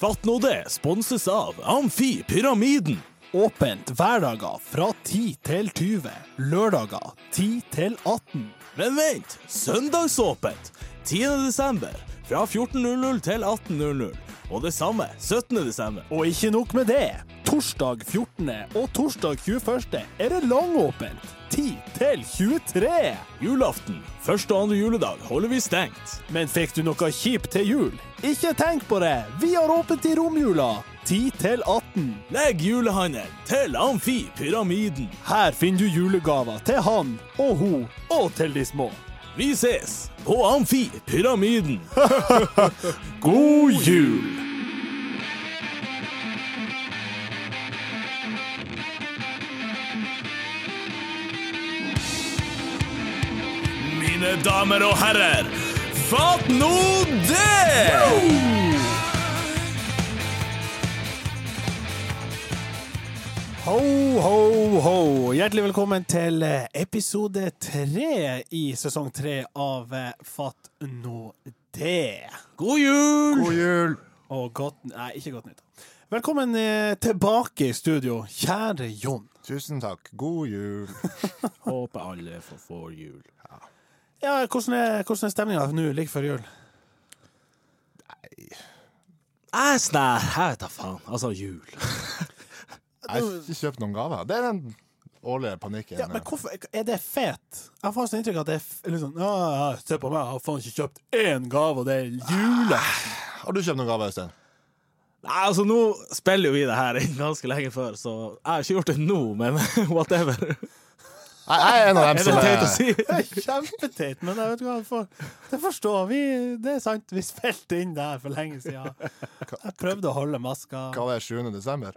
Fatt nå det sponses av Amfi Pyramiden. Åpent hverdager fra 10 til 20. Lørdager 10 til 18. Men vent, søndagsåpent 10. desember fra 14.00 til 18.00. Og det samme 17. desember. Og ikke nok med det. Torsdag 14. og torsdag 21. er det langåpent. 10 til 23. Julaften, første og andre juledag, holder vi stengt. Men fikk du noe kjipt til jul? Ikke tenk på det. Vi har åpent i romjula. 10 til 18. Legg julehandelen til Amfi Pyramiden. Her finner du julegaver til han og hun og til de små. Vi ses på Amfi Pyramiden. God jul! Mine damer og herrer, fatt nå det! Ho, ho, ho. Hjertelig velkommen til eh, episode tre i sesong tre av eh, Fatt nå det. God jul! God jul! Og godt Nei, ikke godt nytt. Velkommen eh, tilbake i studio, kjære Jon. Tusen takk. God jul. Håper alle får, får jul. Ja, Hvordan er, hvordan er stemninga nå like før jul? Æsj, nei, jeg vet da faen. Altså, jul. Jeg har ikke kjøpt noen gaver. Det er den årlige panikken. Ja, men hvorfor, Er det fet? Jeg har faktisk inntrykk av at det er f- liksom, ja, ja, Se på meg, jeg har faen ikke kjøpt én gave, og det er jule! Har du kjøpt noen gaver, Øystein? Nei, altså, nå spiller jo vi det her inn ganske lenge før, så jeg har ikke gjort det nå, men whatever. Nei, Jeg er en av dem Er det som teit å er- si? Det er kjempeteit, men jeg vet ikke hva jeg får. Det forstår vi. Det er sant, vi spilte inn det her for lenge siden. Jeg prøvde å holde maska. Hva var det, 7. desember?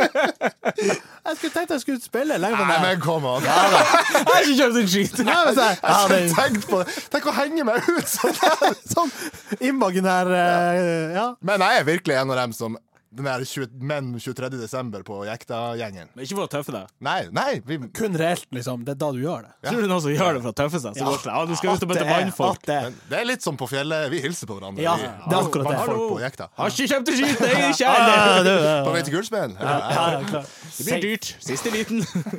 Jeg skulle tenkt jeg skulle spille lenger Nei, enn det. men kom an! Jeg har Jeg har ikke kjøpt en skit. Nei, men så- Ja, ikke det tenkt på det! Tenk å henge meg ut sånn! er Sånn imaginær eh, Ja. Men jeg er virkelig en av dem som den der 20, menn 23. desember på Jekta-gjengen. Men ikke for å tøffe deg. Nei, nei! Vi, Kun reelt, liksom. Det er da du gjør det. Tror du noen som gjør det for å tøffe seg? Så går det sånn, ja, du skal ut og møte mannfolk. det er. men det er litt som på fjellet. Vi hilser på hverandre. Ja, Vi- det er akkurat det. Folk på Jekta. Har ikke kjøpt en skit, det er ikke Ja, jeg. Ah, det er- På vei til Gullsmeden? ja, ja, klart. Det blir dyrt. Siste liten.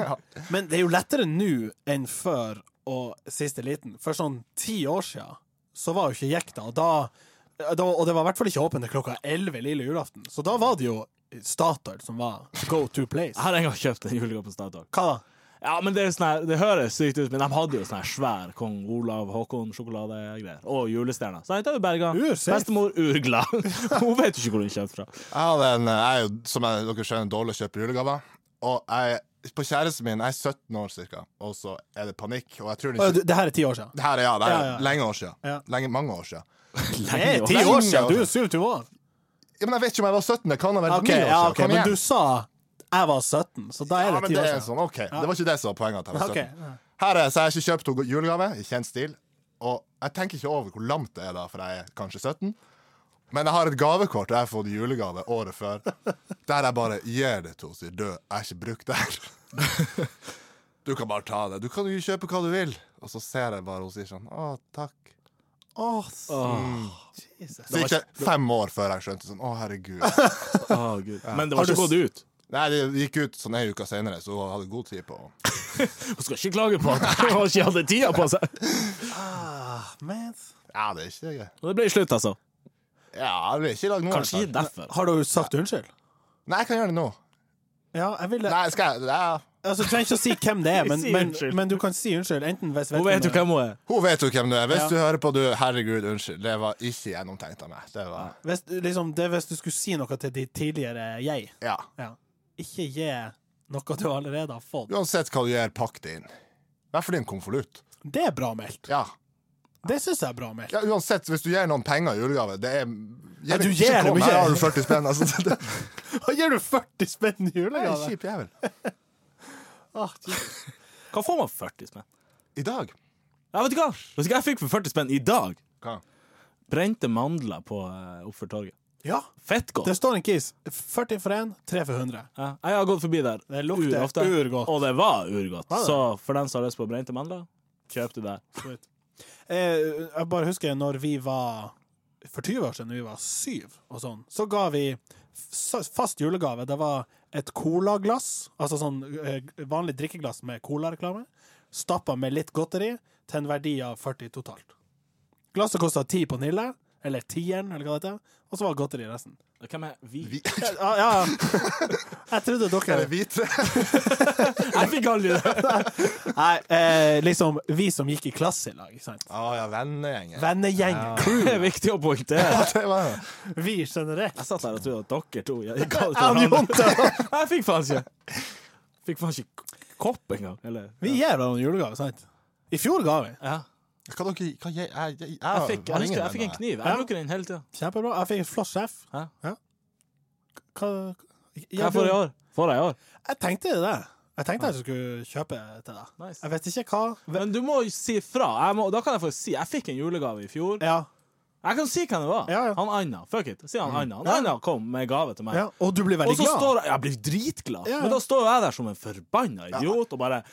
Men det er jo lettere nå enn før og siste liten. For sånn ti år siden så var jo ikke jekta, og da, da Og det var i hvert fall ikke åpent til klokka elleve lille julaften, så da var det jo Statoil som var go to place. Jeg har en gang kjøpt en julegave på Statoil. Hva da? Ja, men det, er sånn her, det høres sykt ut, men de hadde jo sånn her svær Kong Olav Haakon-sjokoladegreier. Og julestjerner. Så den tar jo berga. Ur, safe. Bestemor urglad. Hun vet jo ikke hvor den kommer fra. Jeg hadde en, eh, jeg er jo, som jeg, dere skjønner, dårlig å kjøpe julegaver. Og jeg, på kjæresten min, jeg er 17 år cirka, og så er det panikk. Og jeg tror den Å, ikke du- Det her er ti år siden. Det her er ja, det her, er Ja, ja. lenge år siden. Ja. Lenge, mange år siden. Det er ti Lenge år år siden! Du er siden. 27 år. Ja, men jeg vet ikke om jeg var 17, det kan ha vært OK, 9 år siden. ja, ok, Kom men du igjen. sa jeg var 17, så da er ja, det men ti det år er siden. sånn, ok, det var ikke det sånn. som var poenget. At jeg var Ok, 17. Her er, så jeg har ikke kjøpt noen julegave, i kjent stil. Og jeg tenker ikke over hvor langt det er, da, for jeg er kanskje 17. Men jeg har et gavekort, og jeg har fått julegave året før. Der jeg bare gir det til henne og sier 'død, jeg har ikke brukt det her'. Du kan bare ta det. Du kan jo kjøpe hva du vil. Og så ser jeg bare hun sier sånn 'Å, takk'. Åh, Jesus. Så gikk det fem år før jeg skjønte sånn 'Å, herregud'. Å, Gud. Men det Ah, var Har du ikke gått ut. Nei, det gikk ut sånn ei uke senere, så hun hadde god tid på Hun skal ikke klage på at hun ikke hadde tida på seg. Ah, man. Ja, det er ikke det. Og det ble slutt, altså. Ja, det blir ikke i dag nå. Kanskje i ikke hvert fall. derfor. Har du sagt unnskyld? Nei, jeg kan gjøre det nå. Ja, jeg ville Nei, skal jeg ja. Altså, Du trenger ikke å si hvem det er, men, Si men, unnskyld. men du kan si unnskyld. Enten hvis Hun vet jo hvem hun er. Hun vet jo hvem du er. Hvis Ja. du hører på, du Herregud, unnskyld. Det var ikke gjennomtenkt av meg. Det var Hvis, liksom, det er hvis du skulle si noe til ditt tidligere jeg. Ja. Ja. Ikke gi noe du allerede har fått. Uansett hva du gjør, pakk det inn. I hvert fall i en konvolutt. Det er bra meldt. Ja. Det syns jeg er bra meldt. ja. Uansett, hvis du gir noen penger i julegave, det er Ja, du Ikke gir kom, dem ikke. Her har du 40 spenn. Altså, det Hva gir du 40 spenn i det er en julegave? kjip jævel. Ah, Jesus. Hva får man 40 spenn? I dag Ja, vet du hva? Vet du hva jeg fikk for 40 spenn i dag? Hva? Brente mandler på eh, oppfor torget. ja, Fett godt. det står en kis. 40 for én, 3 for 100. Ja, jeg har gått forbi der Det lukter urofte, urgodt. og det var urgodt. det? Så for den som har lyst på brente mandler, kjøp det der. Eh, jeg bare husker når vi var for 20 år siden, da vi var syv og sånn, så ga vi f- fast julegave. Det var et colaglass, altså sånn eh, vanlig drikkeglass med colareklame, stappa med litt godteri, til en verdi av 40 totalt. Glasset kosta 10 på Nille, eller tieren, eller hva det heter, og så var godteri resten. Hvem er vi? Vi, Ja, ja. ja. Jeg trodde er det dere vi tre? Jeg fikk aldri det! Nei, eh, liksom vi som gikk i klasse i lag, ikke sant? Å Ah, ja, vennegjengen. Vennegjeng, crew. Det er viktig å poengtere. Det var Vi generelt. Jeg satt der og trodde at dere to Jeg, ga det til Jeg og hverandre. Jon Tønne. jeg fikk faen ikke Fikk faen ikke k- kopp engang. Eller Vi gir hverandre julegave, sant? I fjor ga vi. ja. Hva dere hva, jeg, jeg, Jeg jeg, fikk, har jeg, husker, ingen jeg fikk en venner. kniv. Jeg bruker den hele tida. Kjempebra. Jeg fikk et flott sjef. Hæ? Ja. Hva Hva får jeg i år? Får jeg i år? Jeg tenkte det. Jeg tenkte jeg skulle kjøpe til deg. Nice. Jeg vet ikke hva Men du må jo si fra. Jeg må, da kan jeg få si Jeg fikk en julegave i fjor. Ja. Jeg kan si hvem det var. Ja, ja. Han Anna. Fuck it. Si han Anna. Han Ja. Anna kom med gave til meg. ja. Og du blir veldig Og så glad. står jeg Jeg blir dritglad, Ja, ja. men da står jeg der som en forbanna idiot og bare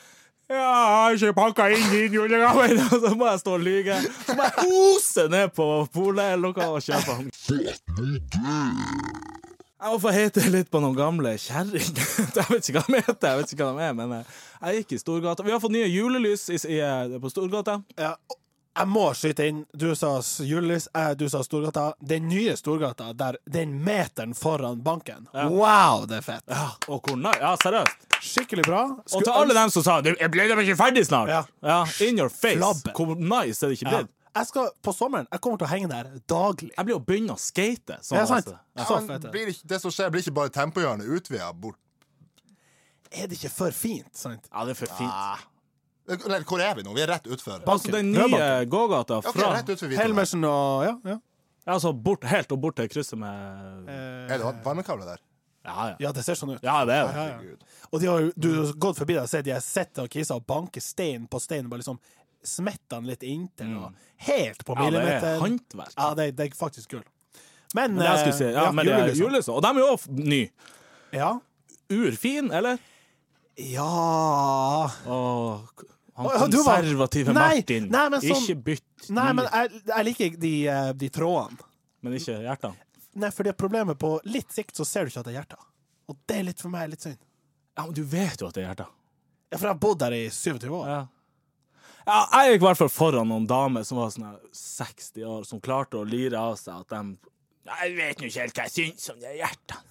ja, jeg har ikke pakka inn din julegave! i dag», Så må jeg stå og lyge. Så må jeg ose ned på polet eller noe og kjøpe den. Jeg må få hete litt på noen gamle kjerringer. Jeg vet ikke hva de heter, jeg vet ikke hva de er, men eh, jeg gikk i Storgata. Vi har fått nye julelys i, i, eh, på Storgata. Ja. Jeg må skyte inn. Du sa s- julelys, eh, du sa Storgata. Den nye Storgata, der den meteren foran banken. Wow, det er fett! Og hvor nice! Ja, seriøst. Skikkelig bra. Og til alle dem som sa «Du, 'Jeg ble de ikke ferdig snart'. Ja. Ja, in your face. Flabbe. Hvor nice er det ikke ja. blitt? Jeg skal på sommeren. Jeg kommer til å henge der daglig. Jeg blir jo begynne å skate. Sånn, Ja, sant. altså. Ja, Så men fett. blir ikke, det som skjer, blir ikke bare tempohjørnet utvida bort Er det ikke for fint? Sant? ja, det er for fint. Ah, Eller, hvor er vi nå? Vi er rett utfor. Altså, den nye Brødbakken. gågata Ok, fra rett utfor Hvitålen. Helmersen og ja, ja. Altså bort, helt og bort til krysset med Eh, Er det vannkabler der? Ja, ja. ja, det ser sånn ut. Ja, det er det. Ja, ja. Og de har, jo- du har gått forbi der og sett de har sett og kisa og banker stein på stein og bare liksom smetta den litt inntil. Og helt på Mm. Ja, det millimeter. er håndverk. Ja, det, det er faktisk gull. Men, eh, Men det jeg skulle si, ja, men det er julelyset. julelysene. Og de er jo f- ny. liksom. Ja. Urfin, eller? ja. Åh, han Å, ja, du var- konservative Nei, Martin. nei, men sånn- Ikke bytt ny, Nei, men jeg, jeg liker de, eh, de trådene. men ikke hjertene. Nei, for det problemet på litt sikt så ser du ikke at det er hjerter. Og det er litt for meg litt synd. Ja, men du vet jo at det er hjerter. Ja, for jeg har bodd der i 27 år. Ja. Ja, jeg gikk i hvert fall foran noen damer som var sånn her 60 år, som klarte å lire av seg at de Jeg vet nå ikke helt hva jeg syns om de hjertene.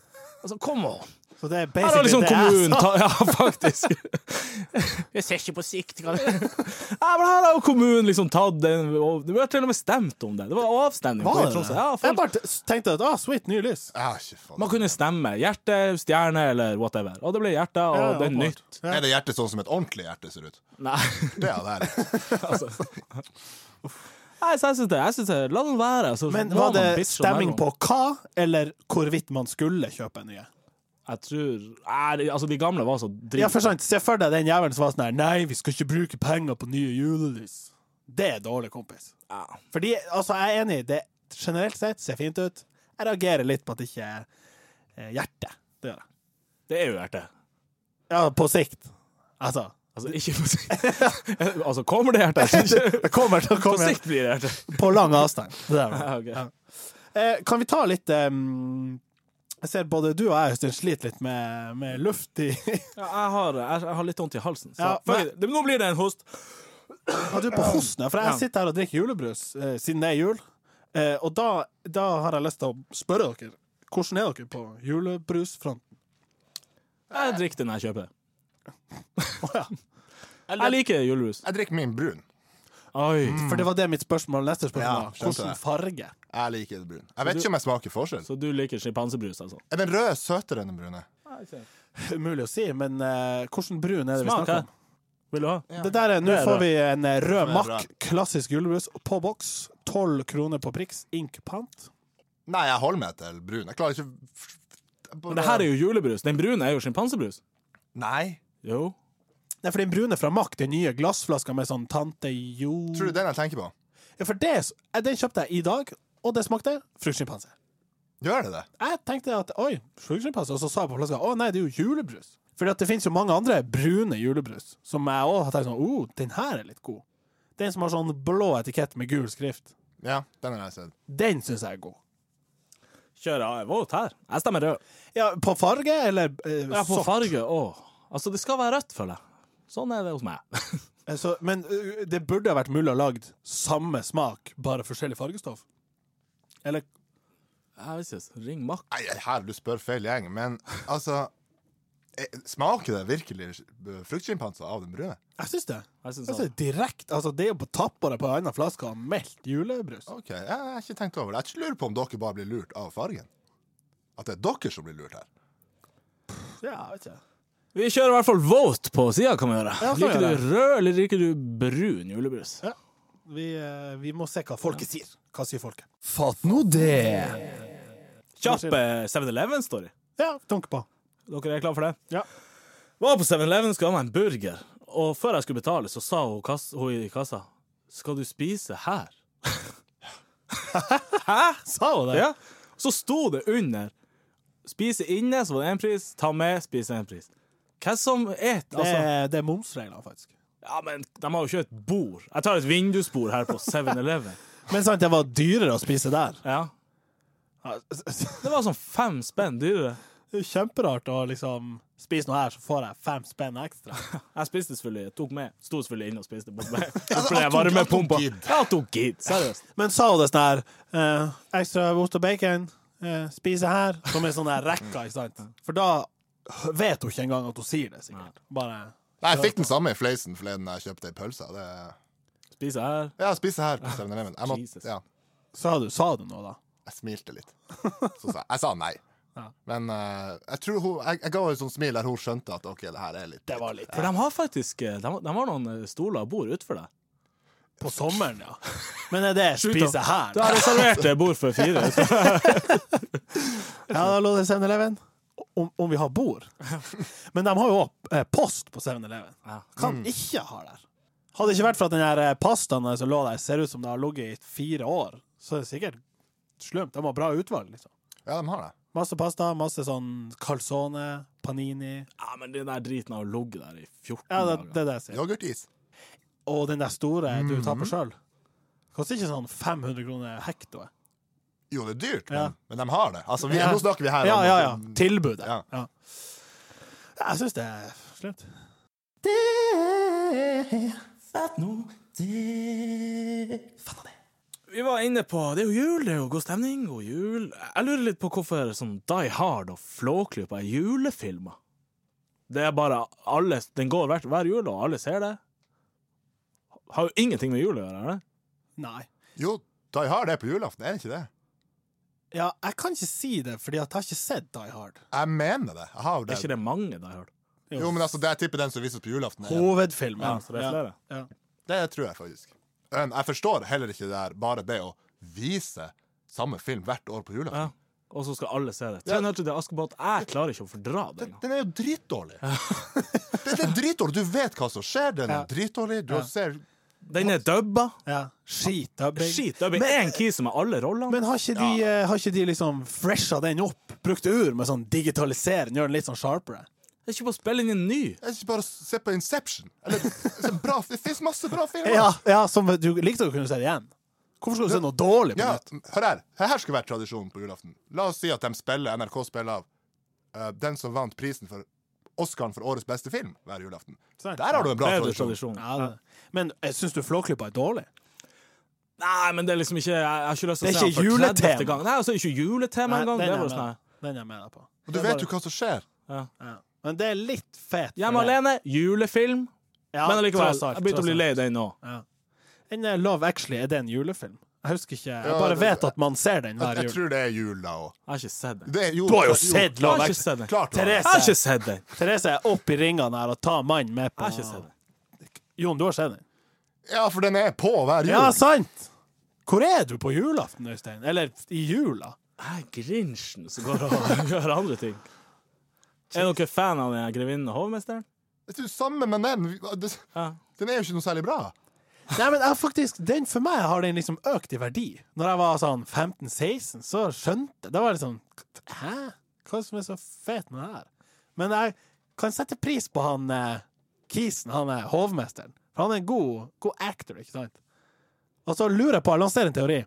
Og så kom hun. Så det er Her har basically liksom det jeg kommunen sa. ta, Ja, faktisk. Jeg ser ikke på sikt hva det er. Ja, men her har jo kommunen liksom tatt den og Vi har til og med stemt om det. Det var avstemning. på Var det Tromsø. det? Ja, jeg folk, bare t- tenkte at ah, sweet, nye lys. Jeg har ikke fått man kunne stemme. Hjerte, stjerne eller whatever. Og det ble hjerte, og Ja, det er åpenbart. nytt. Er det hjertet sånn som et ordentlig hjerte ser ut? Nei, Det er det. her. altså. Nei, så jeg syns det. Jeg synes det. La den være. Så Men la var man det bitche om stemming det. på hva, eller hvorvidt man skulle kjøpe nye? Jeg tror Nei, det- altså, de gamle var så drit... Ja, for sant, Se for deg den jævelen som var sånn her Nei, vi skal ikke bruke penger på nye julelys. Det er dårlig, kompis. Ja. Fordi, altså, jeg er enig, det generelt sett ser fint ut. Jeg reagerer litt på at det ikke er eh, hjerte. Det gjør jeg. Det er jo hjerte. Ja, på sikt. Altså. Altså, ikke på sikt. altså, kommer det hjerte? Jeg tror ikke- Det kommer til å På komme sikt blir det hjerte. på lang avstand. Det der. Ja, ok. Eh, kan vi ta litt em, Jeg ser både du og jeg, Øystein, sliter litt med, med luft i Ja, jeg, har, jeg, jeg har litt vondt i halsen. Så Ja, fuck it. Det- nå blir det en host. Ja, du er på hosten, ja. For Ja. jeg sitter her og drikker julebrus eh, siden det er jul. Eh, og da, da har jeg lyst til å spørre dere. Hvordan er dere på julebrusfronten? Jeg drikker den jeg kjøper. Å ja. Jeg liker julebrus. Jeg drikker min brun. Oi. For det var det mitt spørsmål. Neste spørsmål Ja, var skjønte hvordan det. farge? Jeg liker brun. Jeg vet ikke om jeg smaker forskjell. Så du liker sjimpansebrus, altså? Er den røde søtere enn den brune? Umulig å si, men eh, hvordan brun er det vi Smak snakker her. om? Vil du ha? Det der er, Nå Det er får rød. vi en eh, rød er makk, rød. klassisk julebrus, på boks. Tolv kroner på priks, ink pant. Nei, jeg holder meg til brun. Jeg klarer ikke jeg bare- Men det her er jo julebrus. Den brune er jo sjimpansebrus. Nei. Jo. Nei, for den brune fra Mack, den nye glassflaska med sånn Tante Jo Tror du det er den jeg tenker på? Ja, for det, eh, den kjøpte jeg i dag, og det smakte fruktsjimpanse. Gjør det det? jeg tenkte at oi, fruktsjimpanse, og så sa jeg på flaska å nei, det er jo julebrus. Fordi at det finnes jo mange andre brune julebrus som jeg òg har tenkt sånn oh, den her er litt god. Den som har sånn blå etikett med gul skrift. Ja, den har jeg sett. Den syns jeg er god. Kjører jeg våt her? Jeg stemmer rød. Ja, på farge eller eh, Ja, på sort? farge òg. Altså, det skal være rødt, føler jeg. Sånn er det hos meg. Eh, Så, men eh, det burde ha vært mulig å lage samme smak, bare forskjellig fargestoff. Eller Jeg vet ikke. Ring Mack. Nei, her du spør feil gjeng, men altså eh, Smaker det virkelig fruktsjimpanser av den brune? Jeg syns det. Jeg synes Jeg synes det. direkte Altså, det er jo på tappa det på en annen flaske av meldt julebrus. OK, jeg har ikke tenkt over det. Jeg lurer på om dere bare blir lurt av fargen. At det er dere som blir lurt her. Ja, vet ikke. Vi kjører i hvert fall vote på sida, kan vi gjøre. Ja, kan vi liker gjøre. du rød, eller liker du brun julebrus? Vi, eh, vi må se hva folket sier. Hva sier folket? Fatt nå det! Kjapp eh, 7-Eleven-story. Ja, dunk på. Dere er klare for det? Ja. Var på 7-Eleven, skulle ha meg en burger, og før jeg skulle betale, så sa hun, kass, hun i kassa Skal du spise her? Hæ? Sa hun det? Ja. Så sto det under Spise inne, så var det én pris. Ta med, spise én pris. Hva som et, Det, altså? er- det er momsregler, faktisk. Ja, men de har jo ikke et bord. Jeg tar et vindusbord her på 7-Eleven. Men sant, det var dyrere å spise der. Ja. Det var sånn fem spenn dyrere. Det er Kjemperart å liksom spise noe her, så får jeg fem spenn ekstra. Jeg spiste selvfølgelig, tok med, sto selvfølgelig inne og spiste. Bort med. at hun- varmepumpa. at hun gidd. Ja, at hun gidd. Seriøst. Men sa hun det sånn her eh, Ekstra ost og bacon, eh, spise her, som er sånn der rekka, ikke sant? For da h- vet hun ikke engang at hun sier det, sikkert. Bare Nei, jeg fikk den samme i fleisen forleden da jeg kjøpte ei pølse. og Det... Spise her. Ja, spise her på 7-Eleven. Jeg, måtte- Jesus. ja, Sa du, sa du noe, da? jeg smilte litt. Så sa jeg, jeg sa nei. Ja. Men eh, jeg tror hun Jeg, jeg ga henne et sånt smil der hun skjønte at OK, det her er litt Det var litt For de har faktisk eh, de, de har noen eh, stoler og bord utenfor deg. På sommeren, ja. Men er det Slutt, da. spise her? Du har reservert eh, bord for fire. Ja, da lå det 7-Eleven. Om, om vi har bord. Men de har jo òg eh, post på 7-Eleven. Ja. Kan ikke ha der. Hadde det ikke vært for at den her eh, pastaen som lå der, ser ut som det har ligget i fire år, så er det sikkert slumt. De har bra utvalg, liksom. Ja, de har det. Masse pasta, masse sånn calzone, panini Ja, men den der driten har ligget der i 14 Ja, Mm. det, det dager. er det jeg sier. Yoghurtis. Og den der store du tar på sjøl. Koster ikke sånn 500 kroner hektoet. Jo, det er dyrt, men, Ja. men de har det. Altså, vi, Ja. Nå snakker vi her Ja, om ja, ja. Tilbudet. Ja. Ja. Jeg syns det er slemt. Vi var inne på Det er jo jul, det er jo god stemning, god jul. Jeg lurer litt på hvorfor sånn Die Hard og Flåklypa er julefilmer. Det er bare alle Den går hver, hver jul, og alle ser det. Har jo ingenting med jul å gjøre, er det? Nei. Jo, de har det på julaften, er det ikke det? Ja, jeg kan ikke si det, fordi at jeg har ikke sett Die Hard. Jeg mener det. Jeg har jo Det er det. ikke det mange Die Hard? Jo, men altså, det jeg tipper den som vises på julaften, er Hovedfilmen. Ja, så det er flere. Ja. det tror jeg faktisk. Men jeg forstår heller ikke det der, bare det å vise samme film hvert år på Ja. julaften. Og så skal alle se det. 300 til Askepott. Jeg klarer ikke å fordra det. Den, engang. den er jo dritdårlig. den er dritdårlig. Du vet hva som skjer. Den er dritdårlig. Du ser Den er dubba. Ja. Ja. Skitdubbing. Skitdubba. Én kis med alle rollene. Men har ikke, de, eh, har ikke de liksom fresha den opp? Brukt ur med sånn digitalisering, gjør den litt sånn sharpere? Det er ikke på å spille inn en ny. Jeg ikke bare se på Inception. Eller, se bra, det fins masse bra filmer. Ja, ja som du likte å kunne se det igjen. Hvorfor skal du se noe dårlig på Ja, nytt? hør her. Her skulle vært tradisjonen på julaften. La oss si at de spiller, NRK spiller av eh, den som vant prisen for Oscaren for årets beste film hver julaften. Sant. Der har du en bra Bedre tradisjon. tradisjon. Ja, det- men syns du Flåklypa er dårlig? Nei, men det er liksom ikke Jeg har ikke lyst til å Det er se den ikke for 30. juletema. gang. Nei, altså ikke juletema engang. den, Det er er bare jeg sånn med- her. den er jeg med deg på. Og du Det er vet bare- jo hva som skjer. ja. Men det er litt fett. for Hjemme det. alene, julefilm. Ja, men allikevel, tross alt, jeg begynte å bli tross lei alt. den nå. Den der Love Actually, er det en julefilm? Jeg husker ikke. Jeg Ja, bare det- vet at man ser den Jeg, hver jeg jul. tror det er jul da òg. Jeg har ikke sett den. Du har jo sett Love Jeg har ikke Actually. sett den. Klart du har det. Therese. Jeg har ikke sett den. Therese er opp i ringene her og tar mannen med på Jeg har ikke sett den. Jon, du har sett den? Ja, for den er på hver jul. Ja, sant! Hvor er du på julaften, Øystein? Eller i jula? Jeg er grinchen som går og gjør andre ting. Er dere fan av den her grevinnen og hovmesteren? Det er jo samme med den. Vi- det- Ja. Den er jo ikke noe særlig bra. Nei, men jeg faktisk, den For meg har den liksom økt i verdi. Når jeg var sånn 15-16, så skjønte jeg Det var liksom Hæ? Hva er det som er så fet med det her? Men jeg kan sette pris på han eh, Kisen, han er hovmesteren. For han er en god, god actor, ikke sant? Og så lurer jeg på, jeg lanserer en teori.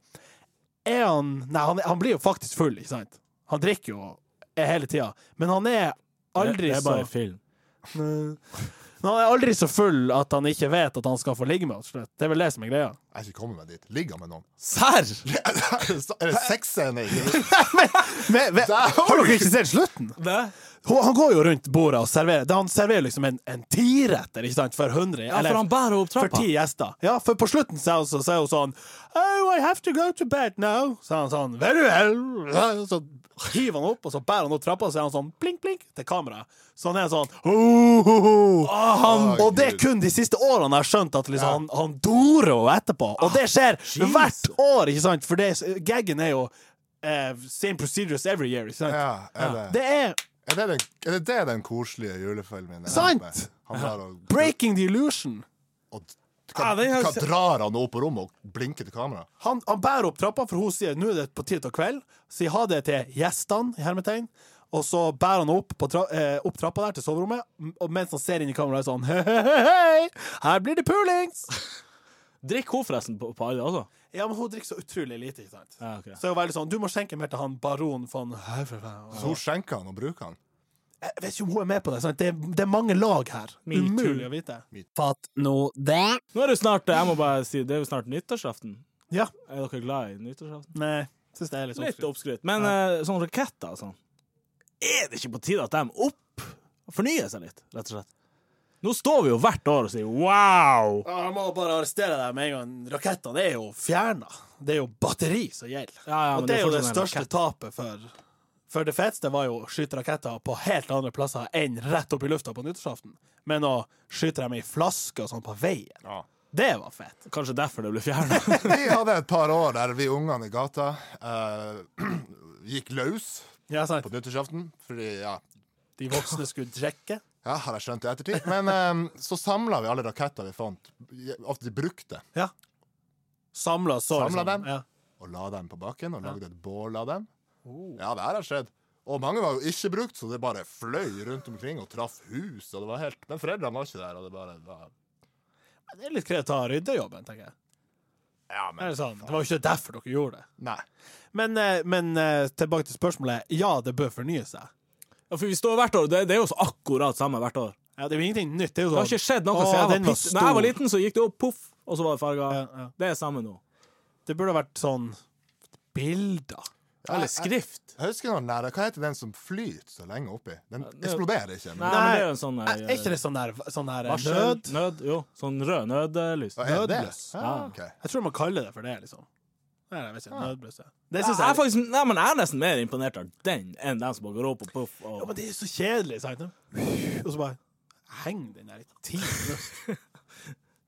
Er han Nei, han, han blir jo faktisk full, ikke sant? Han drikker jo eh, hele tida, men han er det, aldri det er så bare film. Men han er aldri så full at han ikke vet at han skal få ligge med oss. slett. Det er vel det som er greia. Jeg er ikke kommet meg dit. Ligger han med noen? Serr! er det sexscene? i- Men, men, har dere ikke sett slutten? Ja, Han han går jo rundt bordet og serverer. Da Han serverer liksom en, en tiretter ikke sant, for 100 for han bærer opp for trappa. ti gjester. Ja, for på slutten så er hun så- så er hun sånn Oh, I have to go to bed now. Så er han sånn Very well. Så hiver han opp, og så bærer han opp trappa, og så er han sånn blink, blink til kameraet. Så han er sånn oh, oh, oh. Å, Og det er Ah, Gud. kun de siste årene jeg har skjønt at liksom, han, han dorer henne etterpå. Og Ah, det skjer hvert år, ikke sant? For det, gaggen er jo eh, same procedures every year, ikke sant? Ja, er det, Det er er det, den, er det det den koselige julefilmen er? Sant! med? Han drar og, breaking the illusion. og Ja, hva, den har jeg hva sett. drar han opp på rommet og blinker til kamera? Han, han bærer opp trappa, for hun sier nå er det på tide til kveld. Sier ha det til gjestene, i hermetegn. Og så bærer han opp, på tra eh, opp trappa der til soverommet, m- og mens han ser inn i kameraet sånn Hei, hei, hei, her blir det pulings! Drikk hun forresten på, på alle også? Ja, men hun drikker så utrolig lite, ikke sant. Ja, ok. Så er hun veldig sånn Du må skjenke mer til han baron von Så hun skjenker han og bruker han. Jeg vet ikke om hun er med på det. Sant? Det, er, det er mange lag her. Me too. Umulig å vite. Fatt nå det. Nå er det jo snart jeg må bare si, det er jo snart nyttårsaften. Ja. Er dere glad i nyttårsaften? Nei, syns det er litt sånn Litt oppskrytt. oppskrytt. Men eh, sånne raketter og sånn Er det ikke på tide at de opp fornyer seg litt, rett og slett? Nå står vi jo hvert år og sier wow! Ja, Jeg må bare arrestere deg med en gang. Rakettene er jo fjerna. Det er jo batteri som gjelder. Ja, ja, men Og det er jo fortsatt det en største rakett. tapet for For det feteste var jo å skyte raketter på helt andre plasser enn rett opp i lufta på nyttårsaften. Men å skyte dem i flasker og sånn på veien, det var fett. Kanskje derfor det ble fjerna. Vi hadde et par år der vi ungene i gata eh, gikk løs Ja, sant. på nyttårsaften. Fordi, ja, De voksne skulle drikke. ja, har jeg skjønt i ettertid. Men eh, så samla vi alle raketter vi fant, at de brukte, Ja. Samla så liksom- Samla dem. Ja. og la dem på bakken. Og lagde et bål av dem. Ja, det her har skjedd. Og mange var jo ikke brukt, så det bare fløy rundt omkring og traff hus. og det var helt... Men foreldrene var ikke der. og det bare var... Det er litt greit å ta ryddejobben, tenker jeg. Ja, Det, er men... sånn. det var jo ikke derfor dere gjorde det. Nei. Men, eh, men eh, tilbake til spørsmålet. Ja, det bør fornye seg. Ja, for vi står hvert år, det, det er jo så akkurat samme hvert år. Ja, det er jo ingenting nytt. Det, er jo Det har sånn, ikke skjedd noe «Å, siden jeg var, den var pitt- Når jeg var stor». liten, så gikk det opp, poff, og så var det farga. Ja, ja. Det er samme nå. det burde vært sånn bilder. Eller skrift. Jeg husker noen der, Hva heter den som flyter så lenge oppi? Den eksploderer ikke. Nei, Men... men det er jo en sånn Er er ikke det sånn der, sånn der eh, Varsel, nød? nød, jo, sånn rød nødlys. Hva er det? Nødløs. Ja, ok. Jeg tror man kaller det for det, liksom. Nei, jeg vet Ah. ikke, nødbløse. Det Jeg synes er, jeg faktisk, nei, men jeg er nesten mer imponert av den enn den som bare går opp og puff. Ja, Og... men det er så kjedelig, sant? Og så bare Heng den der i ti minutter.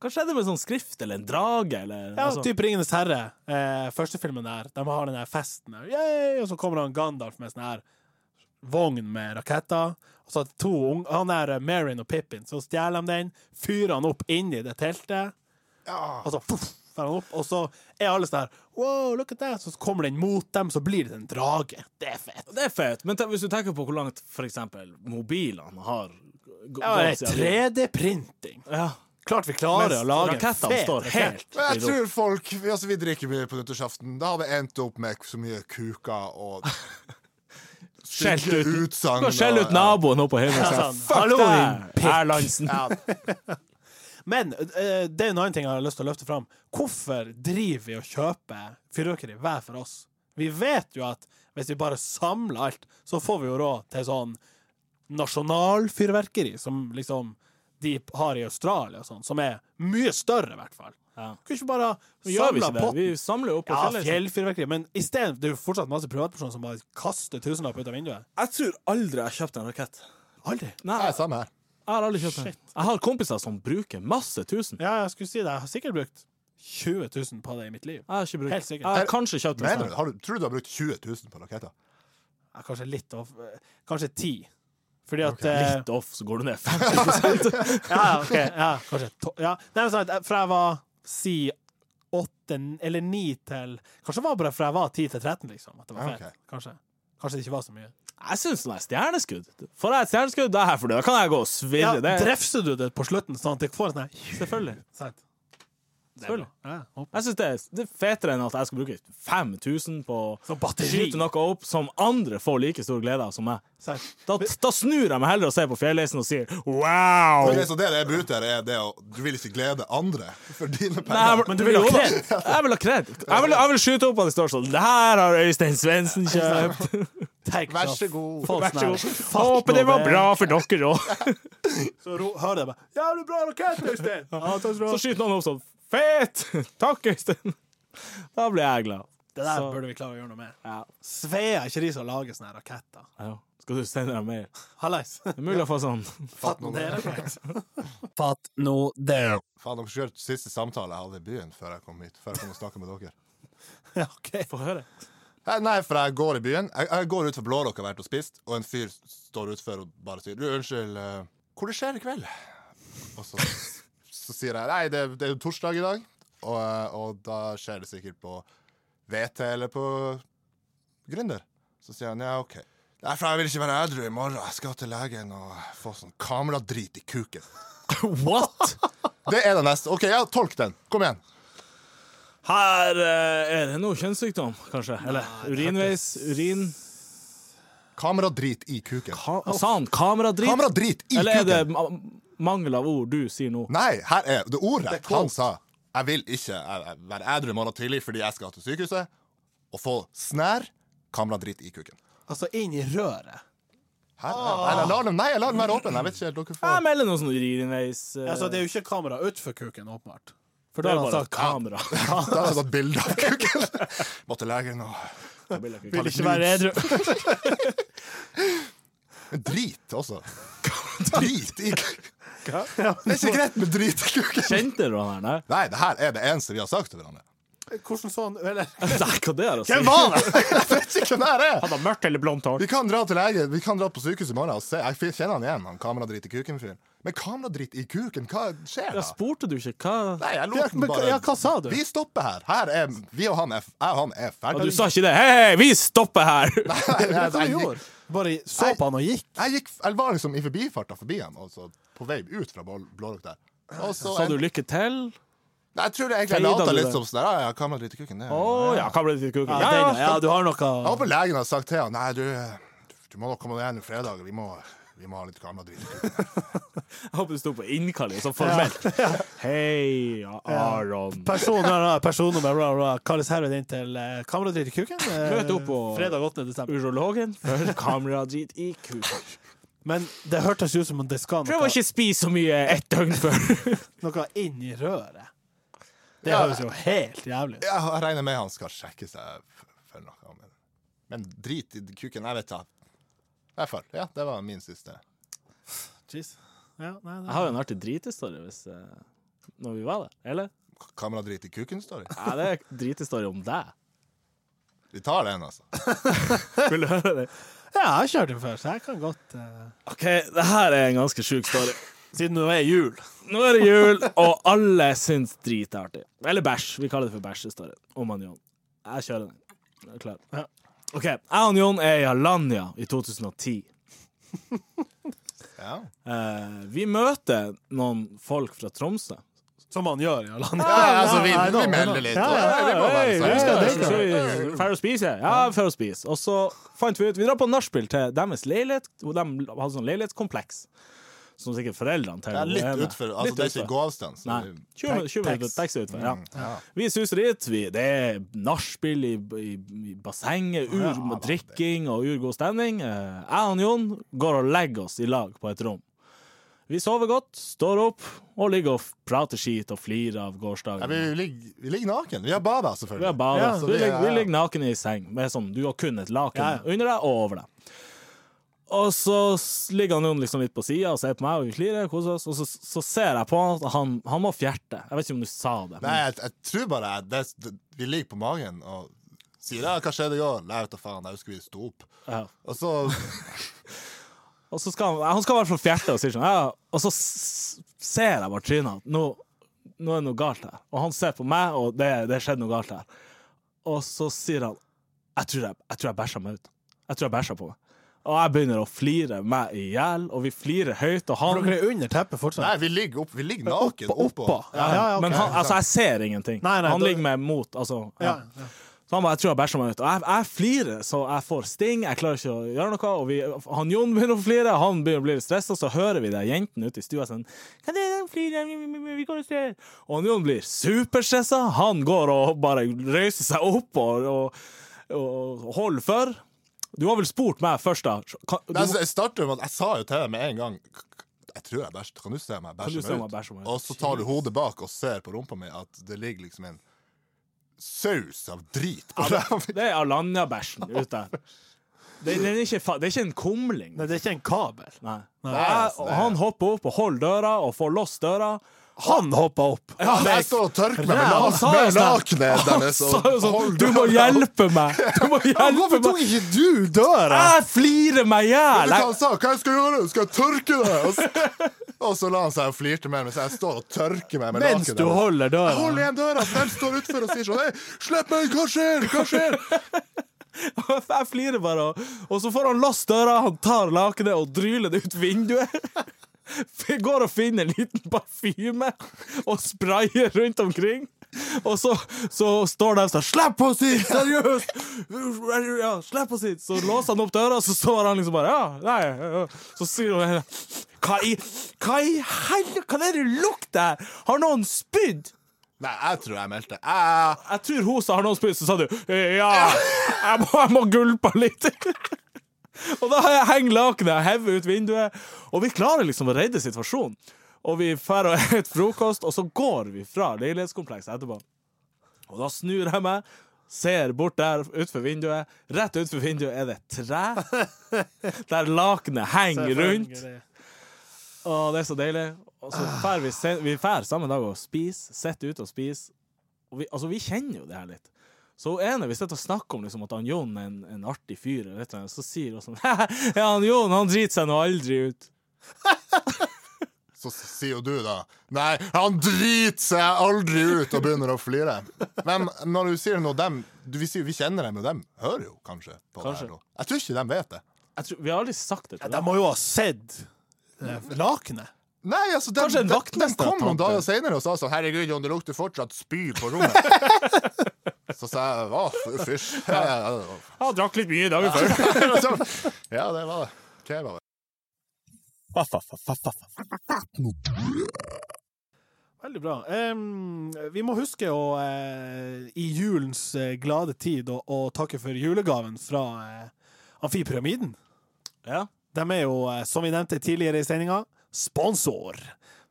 Hva skjedde med sånn skrift eller en drage? Eller, Ja, altså, typ Ringenes herre. Eh, første filmen der, de har den der festen der. Yay! Og så kommer han Gandalf med sånn her vogn med raketter. Og så er det to unge, han der eh, Merrin og Pippin, så stjeler de den, fyrer han opp inni det teltet, Ja. og så puff, fyrer han opp, og så er alle sånn her Wow, look at that! Så kommer den mot dem, så blir det en drage. Det er fett. Det er fett, men te- hvis du tenker på hvor langt for eksempel mobilene har g- Ja, gått det siden- er 3D-printing. Ja. Klart vi klarer å lage en rakettene fet står rakett. helt Men i jeg ro. tror folk vi- altså Vi drikker mye på nyttårsaften. Da hadde jeg endt opp med så mye kuker og Skjelt stygge ut. Du utsagn. kan skjelle og- ut naboen oppe på himmelen. Ja, Ja, sånn. Fuck Hallo, din deg, pikk. Erlandsen! Men eh, det er en annen ting jeg har lyst til å løfte fram. Hvorfor driver vi og kjøper fyrverkeri hver for oss? Vi vet jo at hvis vi bare samler alt, så får vi jo råd til sånn nasjonalfyrverkeri, som liksom de har i Australia og sånn, som er mye større, i hvert fall. Ja. Kunne ikke vi bare Vi gjør vi samle ikke det? Vi potten? samler jo opp på Ja, fjellet. fjellfyrverkeri, men i stedet, det er jo fortsatt masse privatpersoner som bare kaster tusenlapper ut av vinduet. Jeg tror aldri jeg har kjøpt en rakett. Aldri. Nei, Ja, samme her. jeg har aldri kjøpt en. Jeg har kompiser som bruker masse tusen. Ja, jeg skulle si det. Jeg har sikkert brukt 20 000 på det i mitt liv. Jeg har ikke brukt. Helt sikkert. Jeg har kanskje kjøpt en Mener du, sånn. har du, tror du du har brukt 20 000 på raketter? Ja, kanskje litt off. Kanskje ti. Fordi at eh, Litt off, så går du ned 50 Ja, ja, ok. Ja, kanskje to, ja. Nei, men sant, eh, fra jeg var si åtte n- eller ni til Kanskje det var bare fra jeg var ti til 13, liksom. At det var Ja, fett. ok. Kanskje. Kanskje det ikke var så mye. Jeg syns den er stjerneskudd. Får jeg et stjerneskudd, det er her for det. Da kan jeg gå og Ja, svirre. det er Drefser du det på slutten, sånn at det får en sånn her selvfølgelig. sant? Selvfølgelig. Ja, håper. Jeg synes det, er- det er fetere enn at jeg skal bruke 5000 på Så å batteri. skyte noe opp som andre får like stor glede av som meg. Serr. Da, da snur jeg meg heller og ser på fjellheisen og sier wow! Ok, så det det er ute her, er det å Du vil ikke glede andre for Nei, dine jeg, penger. vil- du vil ha kred. Jeg vil ha kred. Jeg vil, jeg vil skyte opp at det står sånn Det her har Øystein Svendsen kjøpt. Take Vær off. så god. Få Vær så sånn god. her. Håper det var bra for dere òg. Så ro, hører jeg bare Jævlig bra rakett, Øystein! Ja, takk skal du Så ha. skyter noen opp sånn Fet! Takk, Øystein. Da blir jeg glad. Det der så- burde vi klare å gjøre noe med. Ja. Svea ikke de som lager sånne her raketter? Ja. Skal du sende dem mer? Hallais! Det er mulig å få sånn Fatt nå det. Fatt nå det. Faen, dere skulle hørt siste samtale jeg hadde i byen før jeg kom hit. Før jeg kom og snakket med dere. Ja, OK. Få høre. Eh, Nei, for jeg går i byen. Jeg, jeg går ut for Blårock har vært og spist, og en fyr står utfor og bare sier Du, unnskyld, eh, hvor det skjer i kveld? Og så, så sier jeg Nei, det, det er jo torsdag i dag, og, eh, og da skjer det sikkert på VT eller på Gründer. Så sier han ja, OK. Nei, for jeg vil ikke være edru i morgen. Jeg skal til legen og få sånn kameradrit i kuken. What?! Det er den neste. OK, ja, tolk den. Kom igjen. Her eh, er det noe kjønnssykdom, kanskje. Eller urinveis, urin Kameradrit i kuken. Ka Sa han kameradrit? Kameradrit i Eller er det kuken! ma- mangel av ord du sier nå? Nei, her er det ordet er han quote. sa. Jeg vil ikke eh, eh, være edru i morgen tidlig fordi jeg skal til sykehuset og få snær kameradrit i kuken. Altså inn i røret. Her, her, Ah. her, jeg lar den, nei, jeg lar den være åpen. Jeg vet ikke, dere Jeg får melder noe sånn urinveis eh, Altså, det er jo ikke kamera utenfor kuken, åpenbart. For Det er da har han bare sagt kamera. Da har jeg tatt bilde av kuken. Måtte legen og Vil ikke være edru. Drit også. Drit i kuken. Det er ikke greit med drit i kuken. Kjente du han her? Nei? Nei, det her er det eneste vi har sagt til hverandre. Hvordan sånn Eller Nei, hva det er å si? var det?! Jeg vet ikke hvem det her er. Hadde han mørkt eller blondt hår? Vi kan dra til lege, vi kan dra på sykehuset i morgen og se. Jeg fin- kjenner han igjen, han kameradrit i kuken-fyren. Men kameradrit i kuken, hva skjer Ja, da? spurte du ikke hva Nei, jeg Ja, lot den men hva- bare ja, hva sa du? Vi stopper her. her er, vi og han er, jeg og han er ja, ferdig Du sa ikke det? Hei, hei, vi stopper her! jeg, Hva var jeg, det du gikk, gjorde? Bare så på han og gikk? jeg, gikk, jeg var liksom i forbifarta forbi han, altså på vei ut fra Blå- Blårock der. Og så Sa en, du lykke til? Nei, jeg tror det egentlig jeg Feida lata du litt det? som sånn der, Ja, ja, kameraet litt i kuken. Det. Å ja, hva ble det til kuken? Ja, Ja, den, ja. ja, du har Jeg noe håper legen har sagt til han Nei, du, du må nok komme deg igjen i fredag. Vi må, vi må ha litt kameradrit i kuken. Jeg håper du sto på innkalling, sånn formelt. Hei, Aron. Personnummer, personnummer, bla, bla. Kalles herved inn til eh, kameradritt i kuken. eh, Møt opp på- Fredag 8. desember. Urologen før kameradrit i kuken. Men det hørtes ut som om det skal Prøv å noe, ikke spise så mye ett døgn før. noe inn i røret. Det Ja. høres jo helt jævlig ut. Jeg, jeg regner med han skal sjekke seg f- for noe. Men, men drit i kuken. Jeg vet da. I hvert fall. Ja, det var min siste. Jeez. Ja, nei, Jeg har jo en artig drithistorie hvis eh, Når vi var der, eller? Kameradrit i kuken-story. Ja, det er drithistorie om deg. Vi tar den, altså. Vil du høre det? Ja, jeg har kjørt den før, så jeg kan godt eh, OK, det her er en ganske sjuk story. Siden det er jul. Nå er det jul, og alle syns drit er artig. Eller bæsj. Vi kaller det for bæsjestory. Om han Jon. Jeg kjører den. Er du klar? Ja. OK. Jeg og Jon er i Alanya i 2010. Ja. Eh, vi møter noen folk fra Tromsø. Som man gjør i alle andre. Ja, ja, altså, vi, Nei, nå- vi melder litt. Ja, ja, Ja, vi må være Hei, sånn. vi skal Ja, drikke. det skal Fer å spise? Ja, fer å spise. Og så fant vi ut Vi drar på nachspiel til deres leilighet. hvor De hadde sånn leilighetskompleks. Som sikkert foreldrene til Ja, litt ene. utfor. Altså, Litt det er ikke utfor. gåavstand. så Nei. vi- Mm, 20, min- 20 minutter Tax. taxi utfor. Ja. Vi suser dit. Vi, det er nachspiel i, i, i bassenget, ur Ja, da, med drikking og urgod stemning. Eh, Jeg og Jon går og legger oss i lag på et rom. Vi sover godt, står opp og ligger og f- prater skit og flirer av Ja, gårsdagen. vi, ligger, vi ligger naken. Vi har bada, selvfølgelig. Vi har badet. Ja, så vi, det ligger, er- vi ligger nakne i seng. Med sånn, du har kun et laken Ja, ja. under deg og over deg. Og så s- ligger han jo liksom litt på sida og ser på meg, og vi flirer, koser oss. Og så, så ser jeg på han at han, han må fjerte. Jeg vet ikke om du sa det. Men Nei, jeg, jeg tror bare jeg- det, det, vi ligger på magen og sier ja, 'hva skjedde i går?' Nei, vet da faen, jeg husker vi sto opp. Ja. Og så Og så skal han, han skal i hvert fall fjerte og sier sånn ja. Og så s- ser jeg bare trynet hans. Nå, nå er det noe galt her. Og han ser på meg, og det det skjedde noe galt her. Og så sier han Jeg tror jeg, jeg, tror jeg bæsja meg ut. Jeg tror jeg bæsja på meg. Og jeg begynner å flire meg i hjel, og vi flirer høyt, og For han dere er under teppet fortsatt. Nei, vi ligger, opp, vi ligger naken oppå. Oppa. Ja, ja, ja, ok. Men han, altså, jeg ser ingenting. Nei, nei, han da- ligger meg mot. Altså, ja. Ja, Så han bare 'jeg tror jeg bæsja meg ut'. Og jeg, jeg flirer, så jeg får sting. Jeg klarer ikke å gjøre noe. Og vi, han Jon begynner å flire, han begynner å bli litt stressa, så hører vi det jentene ute i stua sånn 'Hva er det de flirer? Vi- vi- vi- Vi går og ser'. Og han Jon blir superstressa. Han går og bare reiser seg opp og, og, og holder for. Du har vel spurt meg først, da. Kan, du, Nei, så jeg starter med at Jeg sa jo til deg med en gang Jeg tror jeg bæsjer. Kan du se meg du bæsje se meg meg bæsje ut? meg ut? Og så tar du hodet bak og ser på rumpa mi at det ligger liksom en saus av drit på ræva mi. det er Alanya-bæsjen ute der. Det, det, er ikke, fa- det er ikke en kumling. Nei, det er ikke en kabel. Nei. Nei, jeg, altså, det- han hopper opp og holder døra og får låst døra. Han hoppa opp. Ja, jeg står og tørker meg med Ræva, lak- sa jeg med sånn. lakenet deres. Så og er det sånn, holder du må døra opp. hjelpe meg! Du må Ja, hjelpe Hvorfor meg! tok ikke du døra? Jeg flirer meg i Vet hjel! du hva Jeg- han sa? Hva jeg skal gjøre? Skal jeg tørke deg? Og så, og så la han seg og flirte med meg, mens jeg står og tørker meg med Mens lakenet. du holder Jeg døra. holder igjen døra, for den står utfor og sier sånn Hei, slipp meg! Hva skjer? Hva skjer? Jeg flirer bare, og- og så får han låst døra, han tar lakenet og dryler det ut vinduet. Vi går og finner en liten parfyme og sprayer rundt omkring. Og så, så står de sånn 'Slipp oss hit! Seriøst!' Ja, 'Slipp oss hit!' Så låser han opp døra, og så står han liksom bare Ja, nei ja. Så sier hun Hva i Hva i helvete? Hva er det du lukter her? Har noen spydd? Nei, jeg tror jeg meldte. Jeg Jeg tror hun sa har noen spist, så sa du Ja, jeg må, jeg må gulpe litt. og da har jeg henger lakenet, jeg hever ut vinduet, og vi klarer liksom å redde situasjonen. Og vi drar og spiser frokost, og så går vi fra leilighetskomplekset etterpå. Og da snur jeg meg, ser bort der utenfor vinduet. Rett utenfor vinduet er det et tre der lakenet henger rundt. Å, det er så deilig. Og så fær vi, se- vi fær samme dag og spiser, sitter ute og spiser. Og vi, altså, vi kjenner jo det her litt. Så hun ene, vi sitter og snakker om liksom, at han Jon er en, en artig fyr, eller et eller annet, så sier hun sånn Ja, han Jon, han driter seg nå aldri ut. Så sier jo du da Nei, han driter seg aldri ut og begynner å flire. Men når du sier noe dem du, Vi sier jo vi kjenner dem, og dem hører jo kanskje på Kanskje. det her nå. Jeg tror ikke de vet det. Jeg tror, vi har aldri sagt det til De dem. må jo ha sett eh, lakenet. Nei, altså, dem, Kanskje en dem- vaktmester dem kom har tatt noen dager senere og sa sånn Herregud, Jon, det lukter fortsatt spy på rommet. Så sa jeg Å, fy- fysj. Ja, ja, Jeg drakk litt mye dagen før. ja. Så- Ja, det var det. Kebab. Veldig bra. Em, vi må huske å, eh, i julens eh, glade tid å, å takke for julegaven fra eh, Amfipyramiden. Ja. De er jo, eh, som vi nevnte tidligere i sendinga, sponsor.